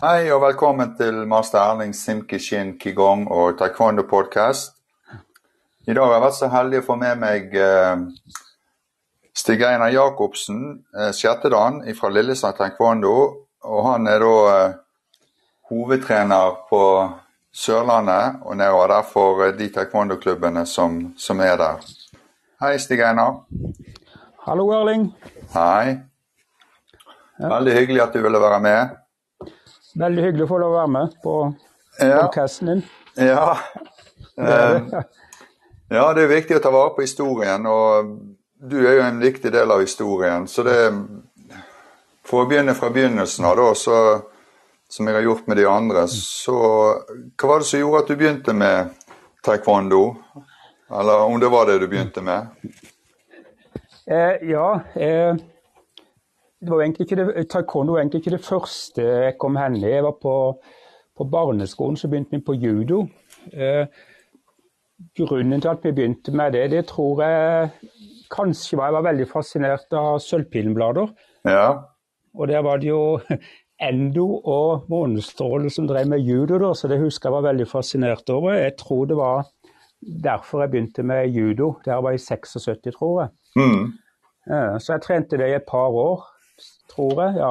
Hei og velkommen til master Erling Simkishin Qigong og Taekwondo podcast. I dag har jeg vært så heldig å få med meg eh, Stig Einar Jacobsen, eh, Skjettedan fra Lillesand Taekwondo. Og han er da eh, hovedtrener på Sørlandet og nedover der for eh, de taekwondo-klubbene som, som er der. Hei, Stig Einar. Hallo, Erling. Hei. Veldig hyggelig at du ville være med. Veldig hyggelig å få lov å være med på Ja. podkasten din. Ja. Eh, ja, det er viktig å ta vare på historien, og du er jo en viktig del av historien. Så det For å begynne fra begynnelsen av, da, så, som jeg har gjort med de andre, så Hva var det som gjorde at du begynte med taekwondo? Eller om det var det du begynte med? Eh, ja, eh, det var jo egentlig ikke det, taekwondo var egentlig ikke det første jeg kom hen i. Jeg var på, på barneskolen, så begynte vi på judo. Eh, grunnen til at vi begynte med det, det tror jeg kanskje var jeg var veldig fascinert av sølvpinblader. Ja. Og der var det jo Endo og Månestrålen som drev med judo, da, så det husker jeg var veldig fascinert over. Jeg tror det var derfor jeg begynte med judo. Der var jeg 76, tror jeg. Mm. Ja, Så jeg trente det i et par år, tror jeg. Ja,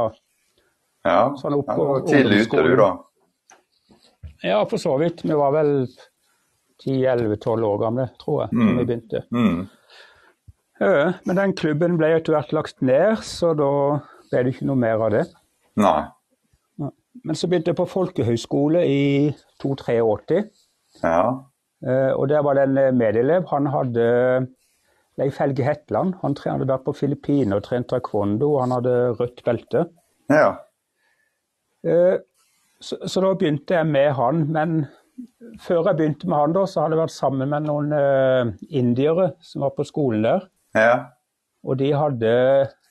ja. Sånn opp- ja hvor tidlig ute du, da? ja for så vidt. Vi var vel 10-11-12 år gamle, tror jeg, da vi begynte. Mm. Ja, men den klubben ble etter hvert lagt ned, så da ble det ikke noe mer av det. Nei. Men så begynte jeg på folkehøyskole i 283. Ja. Eh, og der var det en eh, medelev. Han hadde Leif Helge Hetland. Han tre- hadde vært på Filippinene og trent taekwondo, og han hadde rødt belte. Ja. Eh, så, så da begynte jeg med han. Men før jeg begynte med han, da, så hadde jeg vært sammen med noen eh, indiere som var på skolen der. Ja. Og de hadde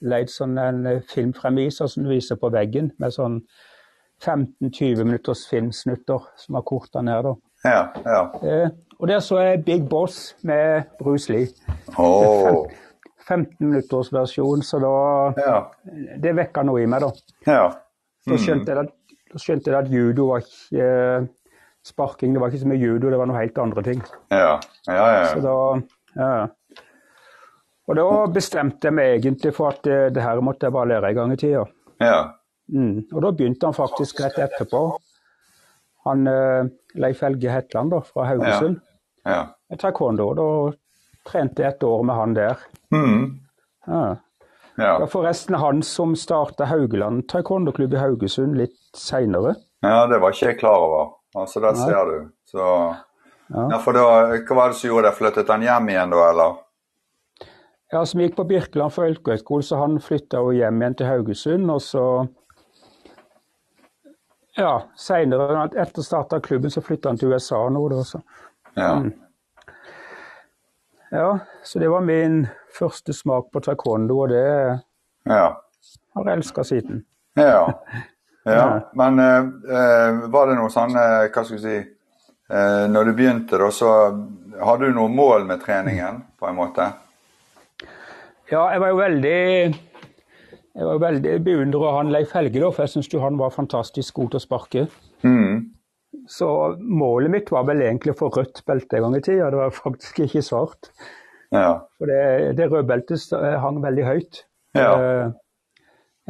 leid sånn en eh, filmfremiser som du viser på veggen, med sånn 15-20 minutters filmsnutter som var korta ned, da. Ja. ja. Eh, og der så jeg Big Boss med Bruce Lee. Åh. 15 minutters versjon, så da Ja. Det vekka noe i meg, da. Ja. Da skjønte jeg at, da skjønte jeg at judo var ikke eh, Sparking det var ikke så mye judo, det var noe helt andre ting. Ja, ja, ja. Så da, ja. Og da bestemte jeg meg egentlig for at eh, det her måtte jeg bare lære en gang i tida. ja. Mm. Og da begynte han faktisk rett etterpå. Han eh, Leif Helge Hetland da, fra Haugesund. ja. Taekwondo. Da trente jeg et år med han der. Mm, Ja. Det var ja. forresten han som starta Haugeland taekwondo-klubb i Haugesund litt seinere. ja, det var ikke jeg klar over. Altså, der ser du. Så, Ja. ja, for da, hva var det som gjorde det? Flyttet han hjem igjen da, eller? Ja, som gikk på Birkeland folkehøgskole, så han flytta jo hjem igjen til Haugesund. Og så Ja, seinere, etter starta klubben, så flytta han til USA nå, da. Så. Ja, Mm. Ja, så det var min første smak på taekwondo, og det ja, har jeg elska siden. ja. ja. Men eh, eh, var det noe sånn, eh, hva skal vi si, eh, når du begynte da, så hadde du noe mål med treningen, på en måte? Ja, jeg var jo veldig jeg var jo veldig beundra av han Leif Helge, da, for jeg syns han var fantastisk god til å sparke. Mm. Så målet mitt var vel egentlig å få rødt belte en gang i tida. Det var faktisk ikke svart. Ja, For det, det røde beltet st- eh, hang veldig høyt. Ja. Eh,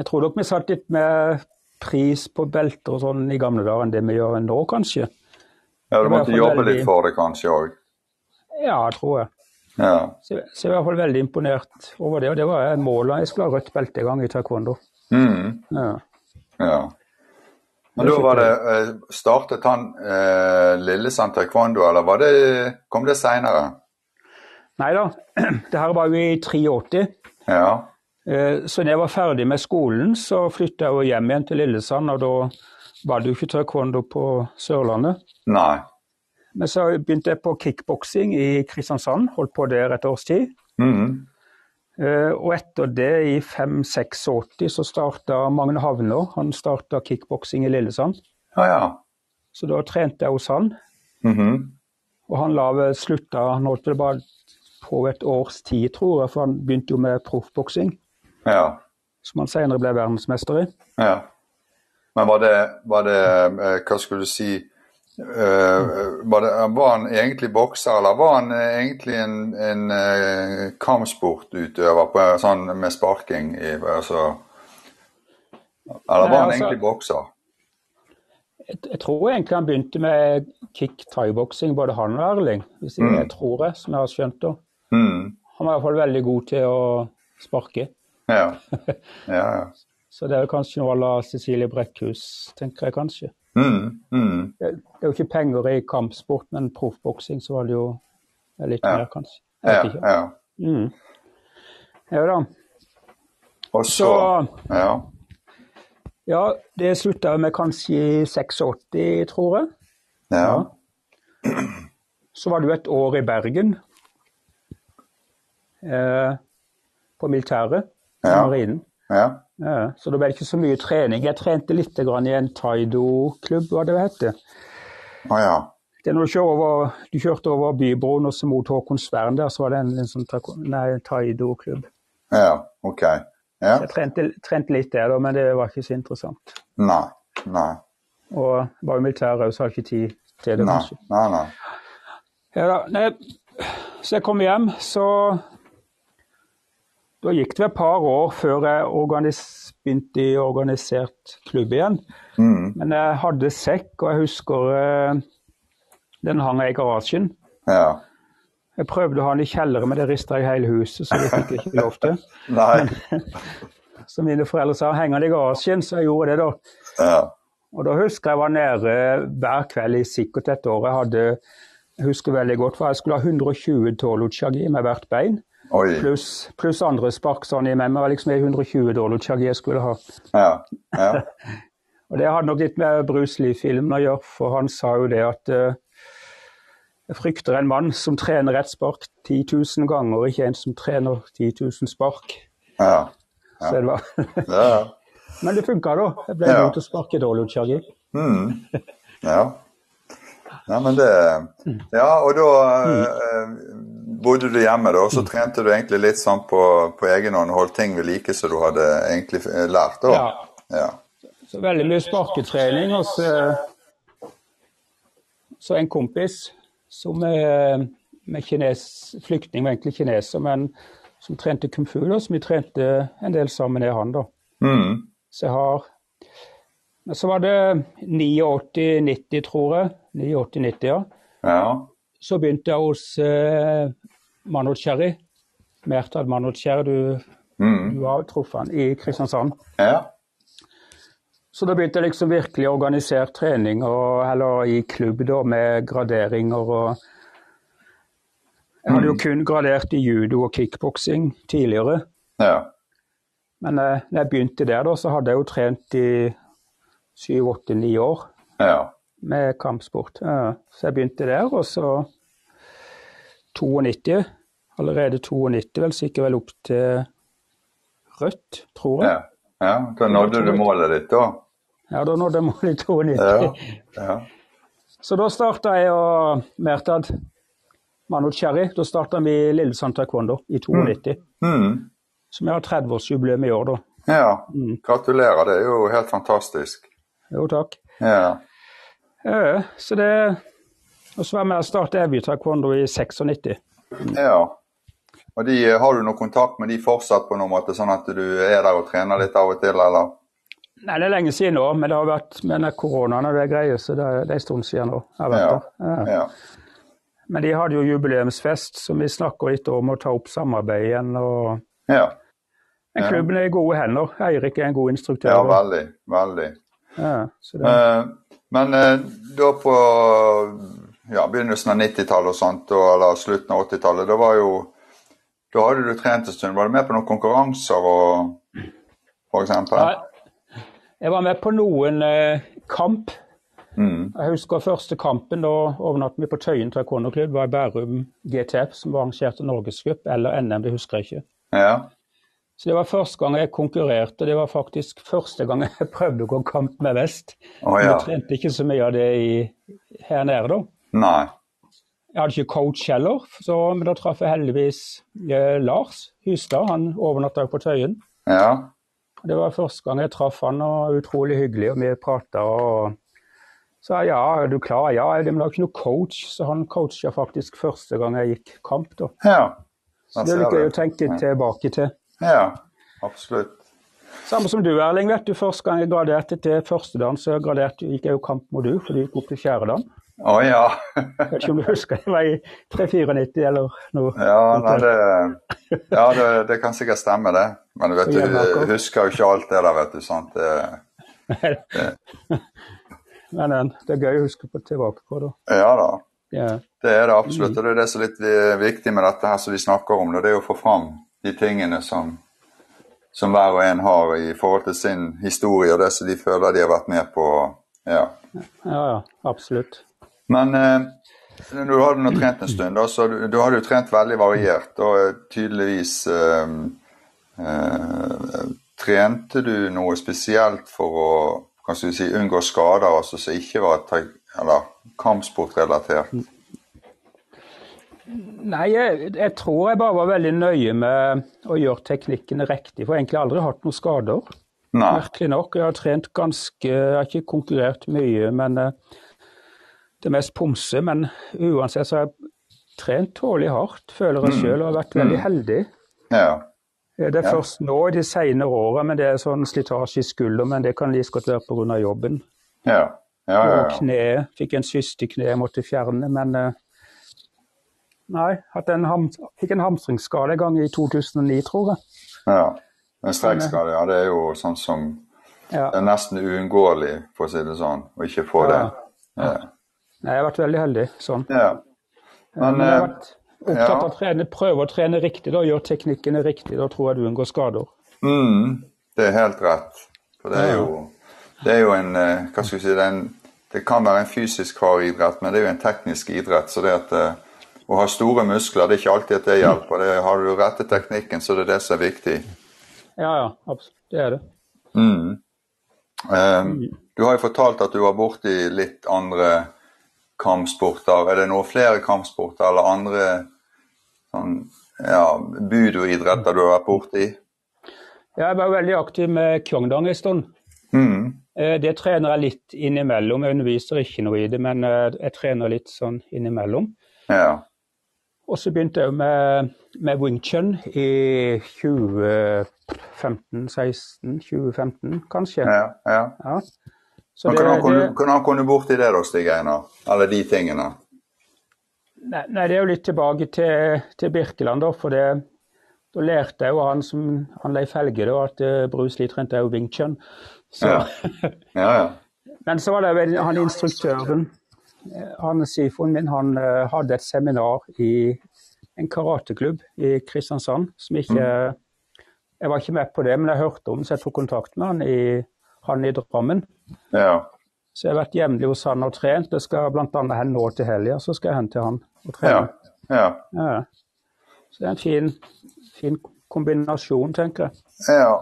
Jeg tror nok vi satt litt mer pris på belter og sånn i gamle dager enn det vi gjør nå, kanskje. ja du var måtte iallfall jobbe litt veldig- for det kanskje også. Ja, tror jeg. Ja, Så, så jeg var i hvert fall veldig imponert over det. Og det var målet. Jeg skulle ha rødt belte en gang i taekwondo. mm. Ja. Ja. Men Det da er var det eh, Startet han eh, Lillesand taekwondo, eller var det, kom det seinere? Nei da, det her var jo i 83. Ja. Eh, Så når jeg var ferdig med skolen, så flytta jeg jo hjem igjen til Lillesand, og da var det jo ikke taekwondo på Sørlandet. Nei. Men så begynte jeg på kickboksing i Kristiansand, holdt på der et års tid. Mhm. Eh, Og etter det, i 5-86, så starta Magne Havner. Han starta kickboksing i Lillesand. Ja, ja. Så da trente jeg hos han, Mhm. og han la vel slutta Han holdt det bare på et års tid, tror jeg, for han begynte jo med proffboksing, Ja. som han senere ble verdensmester i. Ja. Men var det, var det eh, Hva skulle du si eh, var, det, var han egentlig bokser, eller var han eh, egentlig en, en eh, kampsportutøver på, sånn med sparking? I, altså, eller var Nei, han altså- egentlig bokser? Jeg, jeg tror egentlig han begynte med kick thaiboksing, både han og Erling. Hvis jeg, jeg tror jeg, som jeg har skjønt det. Mm, Han var i hvert fall veldig god til å sparke. ja. ja, ja. Så det er kanskje noe à la Cecilie Brekkhus, tenker jeg kanskje. Mm, mm. Det det er jo ikke penger i kampsport, men proffboksing så var det jo litt Ja. mer, kanskje. Jeg Ja, vet ikke. ja. Mm. Ja da. Og Så så Ja. ja, det slutta jeg med kanskje i 86, tror jeg. ja. Så var det jo et år i Bergen. Eh, på militæret. Ja. Ja. Marinen. ja. Ja, så da ble det ikke så mye trening. Jeg trente litt grann i en taido-klubb, hva det heter. Å ja. Det er når du, kjører over, du kjørte over Bybroen og så mot Håkonsvern der, så var det en, en sånn taeko- nei, taido-klubb. Ja, ok. Ja. Jeg trente, trente litt der, da, men det var ikke så interessant. Nei. Nei. Og jeg var jo militær òg, så hadde jeg ikke tid til det, Nei. kanskje. Nei, nei. Ja, da, nei, så jeg kom hjem, så Da gikk det vel et par år før jeg organis, begynte i organisert klubb igjen. Mm. Men jeg hadde sekk, og jeg husker eh, den hang jeg i garasjen. Ja. Jeg prøvde å ha den i kjelleren, men det rista i hele huset, så det fikk jeg ikke lov til. Nei. Så mine foreldre sa heng den i garasjen, så jeg gjorde det, da. Ja. Og da husker jeg jeg var nede hver kveld i sikkert et år. Jeg hadde jeg husker veldig godt, for jeg skulle ha 120 tolutjagi med hvert bein, Oi. pluss pluss andre spark sånn i meg. Men det var liksom de 120 tolutjagi jeg skulle ha. Ja. Ja. Og det hadde nok litt med Bruce Lee-filmen å gjøre, for han sa jo det at eh, jeg frykter en mann som trener ett spark 10 000 ganger, ikke en som trener 10 000 spark. Ja. Så det var. Ja. Men det funka, da. Jeg ble Ja. god til å sparke dårlig utskjæring. Mm. ja. Nei, men det Ja, og da eh, bodde du hjemme, da, og så trente du egentlig litt sånn på, på egen hånd, holdt ting ved like som du hadde egentlig eh, lært, da? Ja. Ja. Så veldig mye sparketrening. Og så, så en kompis som er med kines, flyktning, var egentlig kineser, men som trente kung fu, da, som vi trente en del sammen med han, da. Mm. Så jeg har Men så var det 89-90, tror jeg. 89-90, ja. Ja. Så begynte jeg hos eh, Manoj Cherry. Mertad Manoj Cherry, du, Mm. du har truffet han i Kristiansand. Ja. Så da begynte jeg liksom virkelig organisert trening, og, eller i klubb, da, med graderinger og Jeg hadde jo kun gradert i judo og kickboksing tidligere. Ja. Men eh, når jeg begynte der, da, så hadde jeg jo trent i syv, åtte, ni år. Ja. med kampsport. Ja. Så jeg begynte der, og så 92, allerede 92, vel sikkert vel opp til rødt, tror jeg. Ja. ja. Da nådde du målet ditt, da? Ja, da nådde jeg målet i 92. Ja. ja. Så da starta jeg og Mertad Manu Cherry, da starta vi Lillesand Taekwondo i 92. Mm. Som jeg har 30-årsjubileum i år, da. ja. Gratulerer, det er jo helt fantastisk. Jo, takk. Ja. Ja, så det Og så var jeg med og starta Evy Taekwondo i 96. ja. Og de, eh, Har du noe kontakt med de fortsatt, på noen måte, sånn at du er der og trener litt av og til, eller? Nei, Det er lenge siden nå, men det har vært med den koronaen og det greier, så det er det er en stund siden nå. Jeg har vært der. Ja. Ja. Men de hadde jo jubileumsfest, som vi snakker litt om å ta opp samarbeid igjen. Og... ja. Men Ja. klubben er i gode hender. Eirik er en god instruktør. Ja, veldig. Veldig. Ja, så det... Eh, Men eh, da på ja, begynnelsen av 90-tallet og sånt, og, eller slutten av 80-tallet, da var jo Da hadde du trent en stund. Var du med på noen konkurranser og for eksempel? Jeg var med på noen eh, kamp. Mm. Jeg husker første kampen. Da overnattet vi på Tøyen taekwondo-klubb. Det var i Bærum GTF som arrangerte norgescup, eller NM, det husker jeg ikke. Ja. Så det var første gang jeg konkurrerte. Det var faktisk første gang jeg prøvde å gå kamp med vest. Å Men ja. Jeg trente ikke så mye av det i, her nede, da. Nei. Jeg hadde ikke coach heller, så, men da traff jeg heldigvis eh, Lars Hustad. Han overnatta jo på Tøyen. Ja. Det var første gang jeg traff han, og utrolig hyggelig, og vi prata og sa ja, er du klar? Ja, men det var ikke noe coach, så han coacha faktisk første gang jeg gikk kamp, da. Ja. Så det er litt gøy å tenke tilbake til. Ja, absolutt. Samme som du, Erling. vet du, Første gang jeg graderte til førstedan, så graderte, gikk jeg jo kamp mot du, for du gikk opp til fjerdedan. Å ja. Jeg vet ikke om du husker, det var i 394 eller noe. Ja, nei, det, ja det, det kan sikkert stemme, det. Men vet Så du, hjemmekamp. hu- husker jo ikke alt det der, vet du. sant? Det, Men eh, det er gøy å huske på, tilbake på, da. ja da, Ja. det er det absolutt. Og det er det som er litt vi- viktig med dette her som vi snakker om, det er å få fram de tingene som, som hver og en har i forhold til sin historie og det som de føler de har vært med på. Ja. ja, ja. Absolutt. Men eh, du hadde nå trent en stund, da, så du, du hadde jo trent veldig variert. Og eh, tydeligvis eh, eh, Trente du noe spesielt for å hva skal vi si, unngå skader altså, som ikke var ta- eller, kampsportrelatert? Nei, jeg, jeg tror jeg bare var veldig nøye med å gjøre teknikkene riktig, for jeg har egentlig aldri hatt noen skader. Nei. Merkelig nok. Jeg har trent ganske Jeg har ikke konkurrert mye, men eh, det er mest pomse. Men uansett så har jeg trent tålelig hardt, føler jeg sjøl, og har vært veldig heldig. Ja. Eh, Det er Ja. først nå i de senere åra, men det er sånn slitasje i skulder, men det kan like godt være pga. jobben. Ja. Ja, ja, Og ja. kneet. Fikk en kyst i kneet jeg måtte fjerne, men eh, Nei. Hatt en ham, fikk en hamstringsskade en gang i 2009, tror jeg. ja. En strekkskade, ja. Det er jo sånn som Ja. Det er nesten uunngåelig, for å si det sånn, å ikke få det. Ja. Ja. Nei, jeg har vært veldig heldig sånn. ja. Men, Men jeg har eh, vært opptatt av ja. å trene, prøve å trene riktig, da, gjøre teknikkene riktig. Da tror jeg du unngår skader. Mm, det er helt rett. For det er jo, det er jo en eh, Hva skal vi si det, er en, det kan være en fysisk hard idrett, men det er jo en teknisk idrett. Så det at eh, å ha store muskler, det er ikke alltid at det hjelper. Det, har du rette teknikken, så det er det som er viktig. Ja, ja. Absolutt. Det er det. Ehm, du har jo fortalt at du var borti litt andre kampsporter. Er det noen flere kampsporter eller andre sånn, ja, budoidretter du har vært borti? Jeg var veldig aktiv med Kyongdang en stund. Mm, Eh, Det trener jeg litt innimellom. Jeg underviser ikke noe i det, men eh, jeg trener litt sånn innimellom. ja. Og så begynte jeg jo med, med Wing Chun i 2015-16, 2015 kanskje. ja, ja. Ja. Så Men det- hvordan kom, det- du- hvordan kom du borti det da, Stig Einar? Eller de tingene? Nei, nei, det er jo litt tilbake til, til Birkeland, da. For det, da lærte jeg jo han som han Leif Helge, da, at eh, Bruce Lee trente jo Wing Chun. Så, Ja. Ja, ja. Men så var det vel han instruktøren, eh, han sifoen min, han eh, hadde et seminar i en karateklubb i Kristiansand som ikke Jeg var ikke med på det, men jeg hørte om det, så jeg tok kontakt med han i, han i Drammen. ja. Så jeg har vært jevnlig hos han og trent. Jeg skal bl.a. hen nå til helga, så skal jeg hen til han og trene. ja. ja. Ja. Så det er en fin, fin kombinasjon, tenker jeg. ja.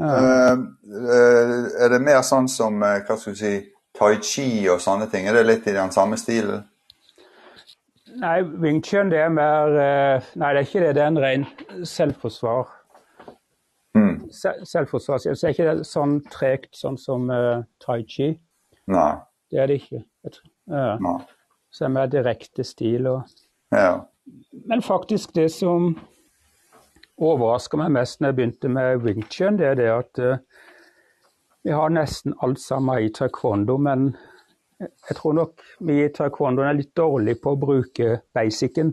Eh, eh, er det mer sånn som eh, hva skal vi si, tai chi og sånne ting? Er det litt i den samme stilen? Nei, Wing Chun det er mer eh, Nei, det er ikke det. Det er en ren selvforsvar. Mm. Se- Selvforsvar. Så det er ikke det sånn tregt sånn som eh, tai chi. Nei. Det er det ikke. Jeg tror- Ja. Nei. Så det er mer direkte stil og Ja. Men faktisk det som overrasker meg mest når jeg begynte med Wing Chun, det er det at eh, vi har nesten alt sammen i taekwondo, men jeg tror nok vi i taekwondoen er litt dårlige på å bruke basicen.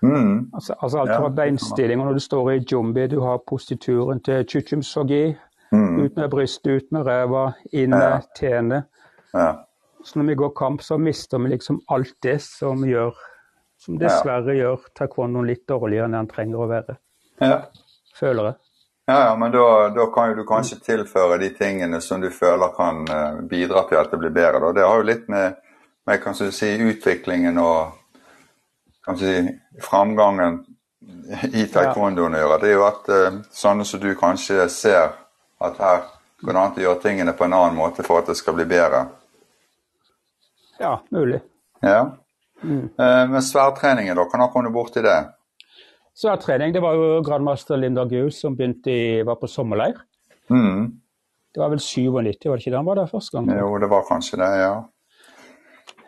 Mm. Altså, altså alt Ja, fra det kan beinstillinger når du står i jumbi, du har postituren til chuchumsogi, ut med brystet, ut med ræva, inn med Mm. Ja. tene. Ja. Så når vi går kamp, så mister vi liksom alt det som gjør Som dessverre gjør taekwondoen litt dårligere enn den trenger å være, Ja. føler jeg. Ja, ja, men da, da kan jo du kanskje tilføre de tingene som du føler kan eh, bidra til at det blir bedre. Da. Det har jo litt med, med kan du si, utviklingen og kan du si, framgangen i taekwondoen å gjøre. Det er jo at eh, sånne som du kanskje ser at her går det an å gjøre tingene på en annen måte for at det skal bli bedre. Ja, mulig. Ja. Eh, men sverdtreningen, da, hvordan kom du borti det? Sværdtrening, det var jo grandmaster Linda Gus som begynte i, var på sommerleir. Mm. Det var vel 97, var det ikke det han var der første gang? Jo, det var kanskje det, ja.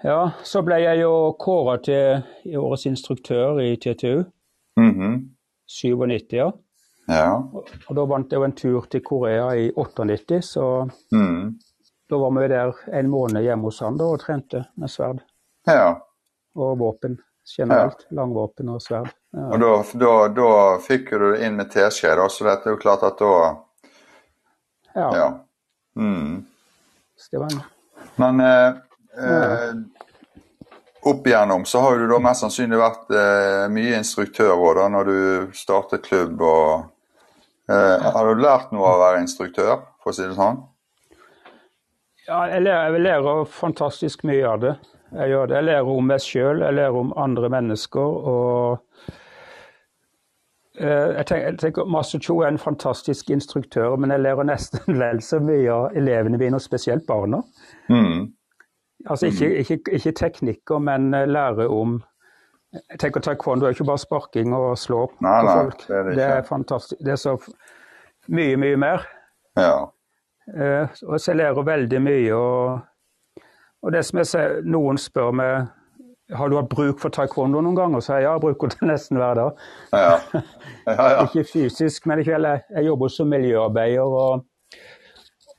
Ja, så ble jeg jo kåra til årets instruktør i TTU. Mhm. 97, ja. Ja. Og da vant jeg jo en tur til Korea i 98, så Mm. da var vi der en måned hjemme hos han da og trente med sverd ja. og våpen generelt. Langvåpen og sverd. Ja. Og da, da, da fikk jo du det inn med teskje, da, så dette er jo klart at da Ja, Ja. Mm. Så det var en Men eh, eh, opp igjennom så har jo du da mest sannsynlig vært eh, mye instruktør også, da, når du startet klubb og eh, Har du lært noe av å være instruktør, for å si det sånn? Ja, jeg lærer, jeg lærer fantastisk mye av det. Jeg gjør det. Jeg lærer om meg sjøl, jeg lærer om andre mennesker. og eh, jeg tenker, jeg tenker Master Cho er en fantastisk instruktør, men jeg lærer nesten vel så mye av elevene mine, og spesielt barna. Mm. Altså ikke, Mhm. ikke, ikke teknikker, men eh, lære om eh, Jeg tenker taekwondo er ikke bare sparking og slå Nei, på nei, folk. det er det det er ikke. fantastisk. Det er så f- mye, mye mer. Ja. Eh, og så jeg lærer veldig mye. Og, og det som jeg ser, noen spør meg har du hatt bruk for taekwondo noen gang, og så sier jeg ja, jeg bruker det nesten hver dag. Ja. ja, ja. Ikke fysisk, men i kveld jeg, jeg jobber som miljøarbeider. og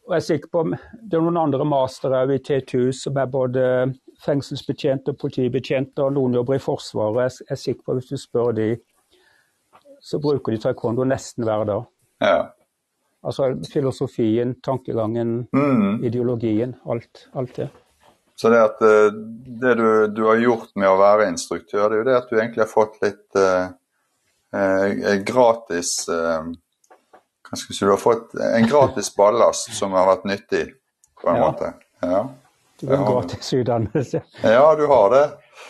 og jeg er sikker på om- Det er noen andre mastere også i TTU som er både fengselsbetjent og politibetjent, og noen jobber i Forsvaret. Jeg s- Jeg er sikker på hvis du spør de, så bruker de taekwondo nesten hver dag. ja. Altså filosofien, tankegangen, Mm. ideologien, alt, alt det. Så det at eh, det du, du har gjort med å være instruktør, det er jo det at du egentlig har fått litt eh, eh, gratis eh, Hva skal jeg si Du har fått en gratis ballast som har vært nyttig, på en Ja. måte. Ja. Du kan Ja. gå til utdannelse. ja, du har det.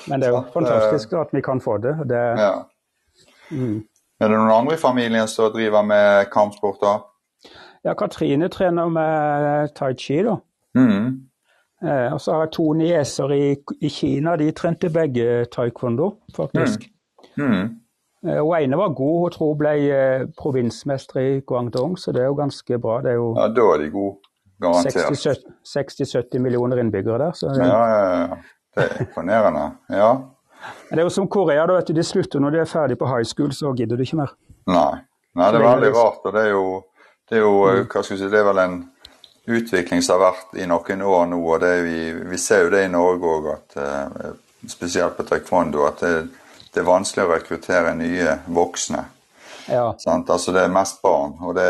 Men det er jo Så at, fantastisk at vi kan få det. og det Ja. Er det noen andre i familien som driver med kampsport, da? ja, Katrine trener med tai chi, da. Mhm. Eh, Og så har jeg to nieser i, i Kina. De trente begge taekwondo, faktisk. Mhm. Eh, Og ene var god, hun tror hun ble eh, provinsmester i Guangdong, så det er jo ganske bra. Det er jo Ja, da er de gode. Garantert. 60-70 60-70 millioner innbyggere der. Så Ja, det, ja, ja. Det er imponerende. Ja. Men det er jo som Korea, da, vet du. De slutter når de er ferdig på high school, så gidder de ikke mer. Nei. Nei, det er Lenge Mm. veldig liksom. rart. Og det er jo, det er jo eh, hva skal jeg si, det er vel en utvikling som har vært i noen år nå. Og det er, vi, vi ser jo det i Norge òg, eh, spesielt på taekwondo, at det, det er vanskelig å rekruttere nye voksne. Ja, Sant? Altså det er mest barn. Og det,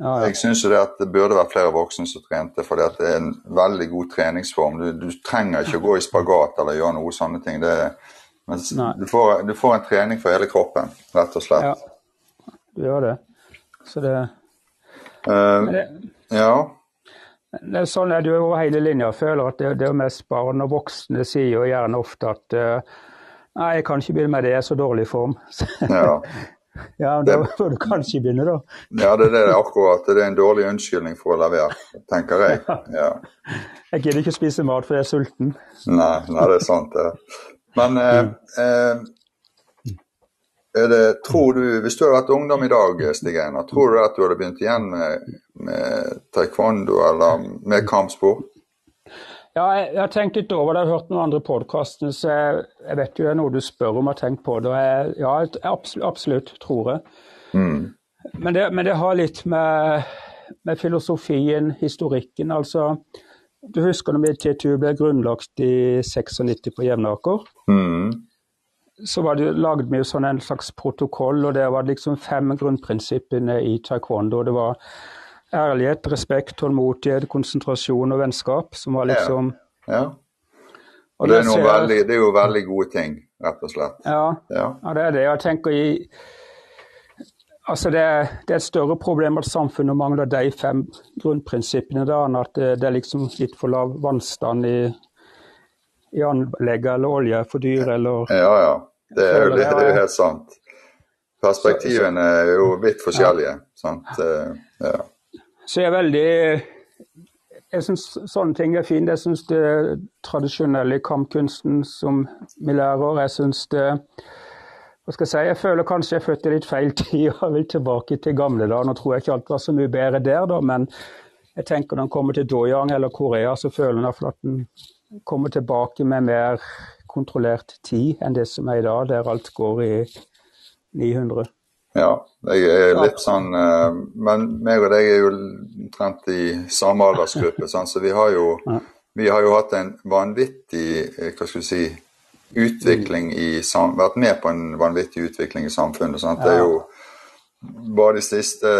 ja, ja. jeg syns jo det at det burde vært flere voksne som trente, for det er en veldig god treningsform. Du, du trenger ikke å gå i spagat eller gjøre noe sånne ting. Det, men s- Nei. du, får, du får en trening for hele kroppen, rett og slett. ja. Du gjør det. Så det, Eh, men det ja. Det er sånn er det jo over hele linja. Jeg føler at det, det er mest barn og voksne sier jo gjerne ofte at eh, Nei, jeg kan ikke begynne med det, jeg er så dårlig i form. Ja. ja, men da bør du kanskje begynne, da. ja, det er det akkurat. Det er en dårlig unnskyldning for å la være, tenker jeg. Ja. Jeg gidder ikke å spise mat fordi jeg er sulten. Nei, nei, det er sant, det. Men eh, eh, er det, tror du, hvis du hadde vært ungdom i dag, Stig Einar, tror du at du hadde begynt igjen med, med taekwondo eller med kampsport? Ja, jeg, jeg har tenkt litt over det, jeg har hørt noen andre podkaster, så jeg, jeg vet jo det er noe du spør om og har tenkt på det. og jeg- Ja, jeg, absolutt, absolutt, tror jeg. Mm. Men det, men det har litt med, med filosofien, historikken, altså. Du husker når TTU ble grunnlagt i 96 på Jevnaker? Mm. så var det, lagde vi jo sånn en slags protokoll, og der var det liksom fem grunnprinsippene i taekwondo. Det var ærlighet, respekt, tålmodighet, konsentrasjon og vennskap, som var liksom Ja. og Og det er, der noe ser jeg- veldig, det er jo veldig gode ting, rett og slett. Ja, Ja. ja, det er det. Jeg tenker i Altså det, er- det er et større problem at samfunnet mangler de fem grunnprinsippene der, enn at det, det er liksom litt for lav vannstand i, i anlegget, eller olje er for dyr, eller Ja, ja. Det er jo det, det er jo helt sant. Perspektivene er jo vidt forskjellige. Sant? Eh, Ja. Så jeg er veldig Jeg syns sånne ting er fint. Jeg syns det tradisjonelle kampkunsten som vi lærer, jeg syns det hva skal jeg si, jeg føler kanskje jeg er født i litt feil tid og jeg vil tilbake til gamle dager. Nå tror jeg ikke alt var så mye bedre der, da, men jeg tenker når en kommer til Doyang eller Korea, så føler en iallfall at en kommer tilbake med mer kontrollert tid enn det som er i dag, der alt går i 900. Ja, jeg er litt sånn eh, Men meg og deg er jo omtrent i samme aldersgruppe, sant? så vi har jo, vi har jo hatt en vanvittig eh, hva skal vi si, utvikling i sam Vært med på en vanvittig utvikling i samfunnet. Sant? Det er jo bare de siste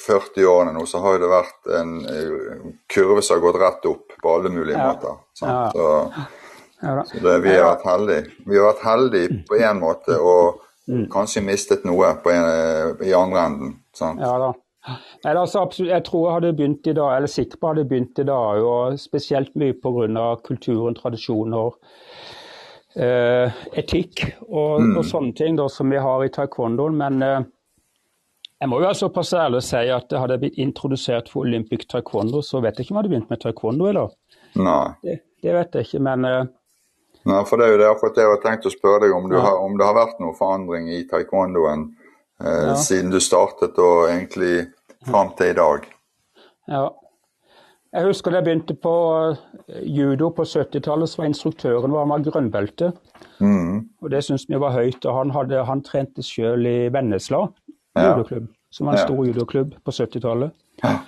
40 årene nå så har jo det vært en eh, kurve som har gått rett opp på alle mulige måter. Ja. Sant? Så, Ja, da. så det, vi har vært heldige. Vi har vært heldige på én måte, og Mm. kanskje mistet noe på en, i andre enden. Sant? Ja da. Nei, da, altså, absolutt, jeg tror jeg hadde begynt i dag, eller sikkert på hadde begynt i dag, og spesielt mye pga. kulturen, tradisjoner, eh, etikk og, og sånne ting da, som vi har i taekwondoen. Men eh, jeg må jo være såpass ærlig og si at hadde jeg blitt introdusert for olympic taekwondo, så vet jeg ikke om jeg hadde begynt med taekwondo i dag. Nei. Det, det vet jeg ikke, men eh, Nei, for det er jo det akkurat det jeg har tenkt å spørre deg om. Du har, om det har vært noen forandring i taekwondoen eh, Ja. siden du startet og egentlig fram til i dag. Ja. Jeg husker da jeg begynte på eh, judo på 70-tallet, så var instruktøren vår han var grønnbelte. Mm. Og det syntes vi var høyt. Og han, hadde, han trente sjøl i Vennesla Ja. judoklubb, som var en Ja. stor judoklubb på 70-tallet. Ja.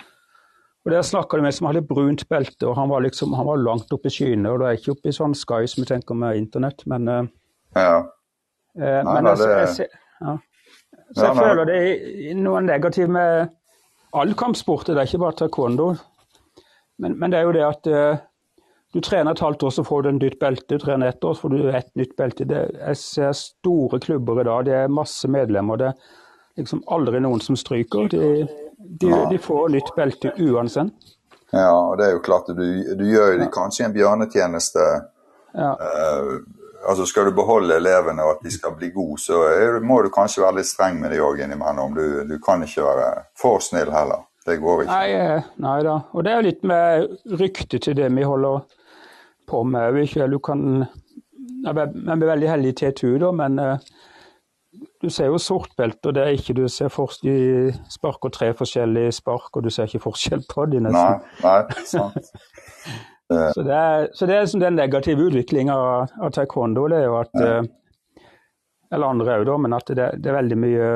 Og Der snakka de med en som hadde brunt belte, og han var, liksom, han var langt oppe i skyene. og Da er jeg ikke oppe i sånn sky som vi tenker med internett, men, eh, Ja. eh, Nei, men nei, jeg, det- jeg, ser- ja. Så Ja, jeg nei. føler det er noe negativt med all kampsport, det er ikke bare taekwondo. Men, men det er jo det at eh, du trener et halvt år, så får du en nytt belte. Du trener ett år, så får du et nytt belte. Det, jeg ser store klubber i dag, det er masse medlemmer. Det er liksom aldri noen som stryker. De, de, de får nytt belte uansett. ja, og det er jo klart at du, du gjør jo de kanskje en bjørnetjeneste. Ja. Eh, altså Skal du beholde elevene og at de skal bli gode, så er, må du kanskje være litt streng med dem òg innimellom. Du, du kan ikke være for snill heller. Det går ikke. Nei, eh, nei da. Og det er jo litt med ryktet til det vi holder på med òg. Du kan ja, ve- Man blir veldig heldig i TTU, da, men eh, du ser jo sortbelte, og det er ikke du ser forskjell De sparker tre forskjellige spark, og du ser ikke forskjell på de Nei, nesten. nei, sant. Så det er, så det er liksom den negative utviklinga av, av taekwondo, det er jo at eh, Eller andre òg, da, men at det, det er veldig mye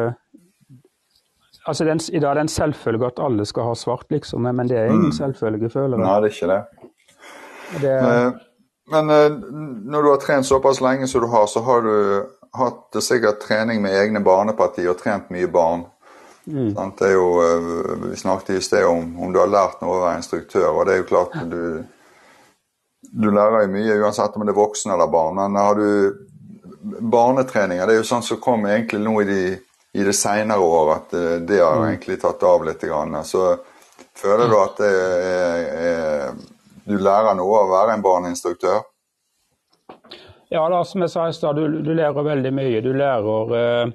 Altså, det er en- I dag er det en selvfølge at alle skal ha svart, liksom, men det er ingen selvfølge, føler jeg. Nei, det er ikke det. Det, Eh, Men eh, n- når du har trent såpass lenge som du har, så har du hatt eh, sikkert trening med egne barneparti og trent mye barn. Sant? Det er jo, eh, vi snakket i sted om om du har lært noe å være instruktør, og det er jo klart at du Du lærer jo mye uansett om det er voksne eller barn, men har du barnetreninger Det er jo sånn som kom egentlig nå i, de, i det seinere år, at eh, det har egentlig tatt av litt. Grann. Så føler du at det er, er, du lærer noe av å være en barneinstruktør? Ja, da, som jeg sa i stad, du, du lærer veldig mye. Du lærer eh,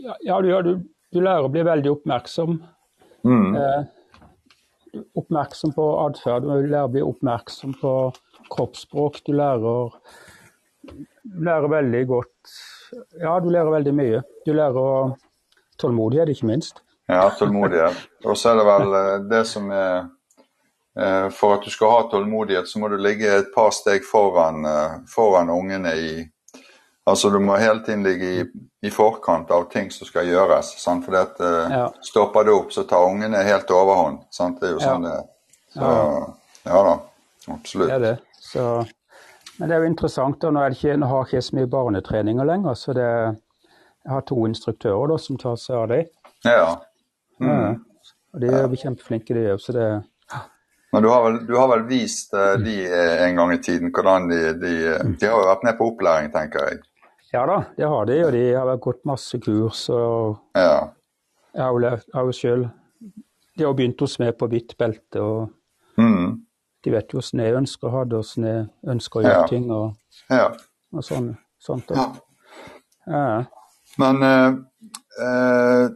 ja, Ja, du gjør du, du lærer å bli veldig oppmerksom. Eh, oppmerksom på atferd. Du lærer å bli oppmerksom på kroppsspråk. Du lærer Du lærer veldig godt Ja, du lærer veldig mye. Du lærer å- tålmodighet, ikke minst. Ja, tålmodighet. Og så er det vel eh, det som er eh, For at du skal ha tålmodighet, så må du ligge et par steg foran, eh, foran ungene i Altså du må hele tiden ligge i, i forkant av ting som skal gjøres. Sant? For at, eh, Ja. stopper det opp, så tar ungene helt overhånd. Sant? Det er jo sånn det er. Så, ja da. Absolutt. Det er det. Så, men det er jo interessant. da, Nå, er det ikke, nå har jeg ikke så mye barnetreninger lenger. så det, Jeg har to instruktører da, som tar seg av dem. Ja. Mm. Og de er jo kjempeflinke, de òg. Så det Men du har vel, du har vel vist eh, de eh, en gang i tiden hvordan de De, eh, de har jo vært med på opplæring, tenker jeg. Ja da, det har de. Og de har vel gått masse kurs. Og Ja. jeg har jo lært- jeg har jo sjøl De har jo begynt hos meg på hvitt belte, og Mm. de vet jo hvordan jeg ønsker å ha det, og hvordan jeg ønsker å gjøre Ja. ting og, Ja. og sånn. sånt. Ja. Ja. Men eh, eh,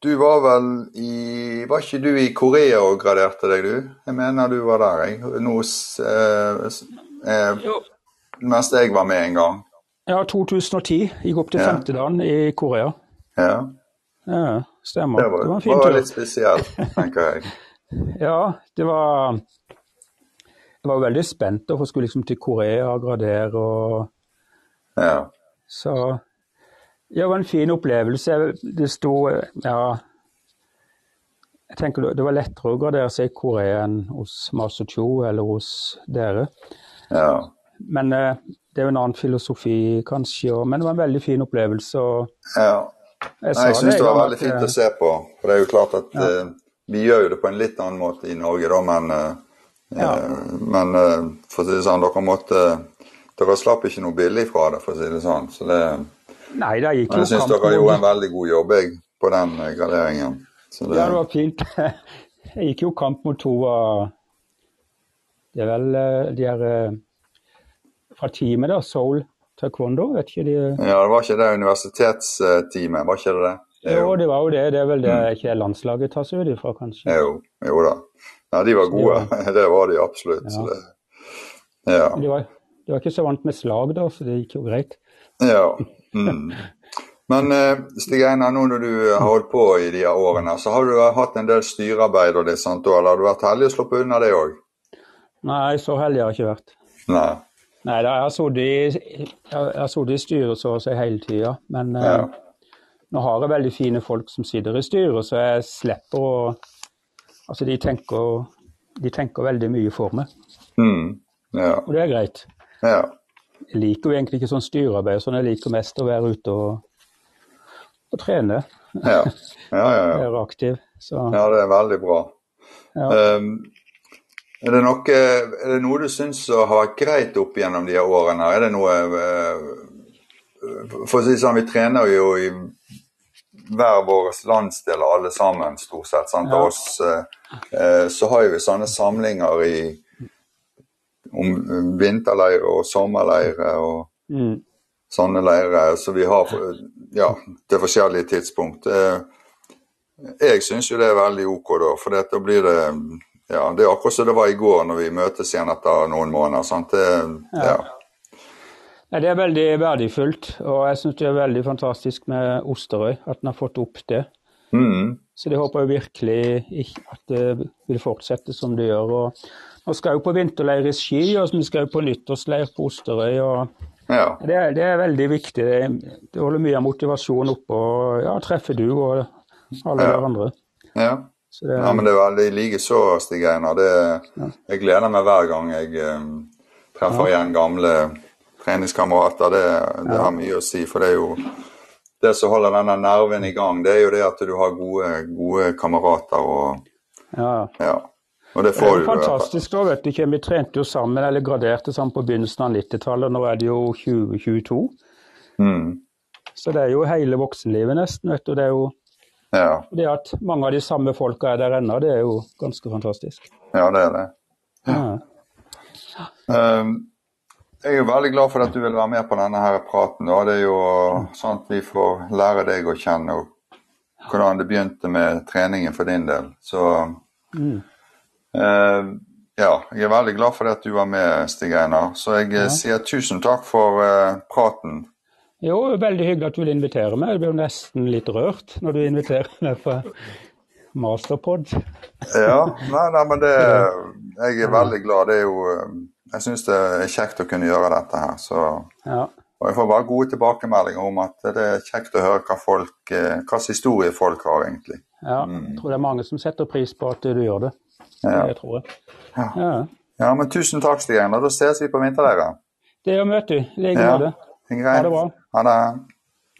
du var vel i Var ikke du i Korea og graderte deg, du? Jeg mener du var der, jeg. Nå s- eh, s- eh, Jo. Mens jeg var med en gang. Ja, 2010. Gikk opp til Ja. femte dagen i Korea. Ja. Ja, stemmer. Det var, det var en var fin tur. litt spesielt, tenker jeg. Ja, det var Jeg var veldig spent da, for jeg skulle liksom til Korea og gradere og Ja. Så ja, det var en fin opplevelse. Det sto Ja. Jeg tenker det- Det var lettere å gradere seg i Korea enn hos Master Cho eller hos dere. ja. Men eh, det er jo en annen filosofi, kanskje. Og, men det var en veldig fin opplevelse. og ja. jeg Nei, jeg sa syns det en var gang veldig at, fint eh, å se på. For det er jo klart at eh, vi gjør jo det på en litt annen måte i Norge, da, men eh, Ja. eh, Men eh, for å si det sånn, dere måtte Dere slapp ikke noe billig fra det, for å si det sånn. Så det, Nei, det gikk men jeg jo syns kamp dere gjorde en mot veldig god jobb jeg, på den eh, graderingen. Så det, Ja, det var fint. Jeg gikk jo kamp mot to av Det er vel eh, de er eh, fra teamet, da. Seoul Taekwondo, vet ikke de ja, det var ikke det universitetsteamet, var ikke det det? Det er Jo, jo- Mm. det var jo det. Det er vel det ikke landslaget tas ut ifra, kanskje. Jo, jo da. Ja, de var gode. Det var de absolutt. Så det, ja. Men De var, de var ikke så vant med slag da, så det gikk jo greit. Ja. Mm. Men eh, Stig Einar, nå når du har holdt på i de her årene, så har du hatt en del styrearbeid og litt sånt, og eller har du vært heldig og sluppet unna det òg? Nei, så heldig har jeg ikke vært. Nei. Nei, da, jeg har sittet i, jeg har sittet i styret så å si hele tida. Men eh, Ja. nå har jeg veldig fine folk som sitter i styret, så jeg slipper å Altså, de tenker, de tenker veldig mye for meg, Mm. Ja. og det er greit. ja. Jeg liker jo egentlig ikke sånn styrearbeid, og sånn jeg liker mest å være ute og, og trene. Ja. Ja, ja, ja. Være aktiv. Så ja, det er veldig bra. Ja. Ehm, er, det noe, er det noe du syns har vært greit opp gjennom de her årene? her? Er det noe eh, For å si det sånn, vi trener jo i hver vår landsdel alle sammen, stort sett. sant, Ja. av oss, eh, eh, Så har jo vi sånne samlinger i om vinterleir og sommerleire og mm. sånne leirer som vi har for- ja, til forskjellige tidspunkt. Eh, Jeg syns jo det er veldig ok, da, for det, da blir det ja, Det er akkurat som det var i går når vi møtes igjen etter noen måneder. sant? Det, ja. Nei, Det er veldig verdifullt, og jeg syns det er veldig fantastisk med Osterøy, at en har fått opp det. Mm, Så det håper jeg virkelig ikke at det vil fortsette som det gjør. Og nå skal jeg jo på vinterleir i Ski, og vi skal jo på nyttårsleir på Osterøy. og ja. Det er, det er veldig viktig. Det, det holder mye av motivasjonen oppe og ja, treffer du og alle Ja. hverandre. ja. Så det, Ja, men det er veldig likeså, Stig Einar. Det, jeg gleder meg hver gang jeg eh, treffer igjen gamle treningskamerater. Det, det har mye å si, for det er jo det som holder denne nerven i gang, det er jo det at du har gode, gode kamerater og ja. Ja. Og det Det får er du. jo fantastisk da, vet du ikke. Vi trente jo sammen, eller graderte sammen på begynnelsen av 90-tallet, nå er det jo 2022. Mm. Så det er jo hele voksenlivet nesten, vet du. Det er jo Ja. det at mange av de samme folka er der ennå, det er jo ganske fantastisk. ja, det er det. Ja. Ehm, jeg er jo veldig glad for at du vil være med på denne her praten. Og det er jo sånn at vi får lære deg å kjenne og hvordan det begynte med treningen for din del. Så Mm. ehm, ja, jeg er veldig glad for det at du var med, Stig Einar. Så jeg eh, sier tusen takk for eh, praten. Jo, veldig hyggelig at du vil invitere meg. Jeg blir jo nesten litt rørt når du inviterer meg på Masterpod. Ja, nei, nei, men det Jeg er veldig glad. Det er jo eh, Jeg syns det er kjekt å kunne gjøre dette her, så Ja. Og jeg får bare gode tilbakemeldinger om at det er kjekt å høre hva folk, eh, hva slags historie folk har, egentlig. ja. Jeg tror det er mange som setter pris på at du gjør det. Det tror jeg. Ja. Ja, men tusen takk, Stig Einar. Da ses vi på vinterleiren. Det gjør vi, vet du. I like Ja, måte. Greit. Ha det bra. Ha det.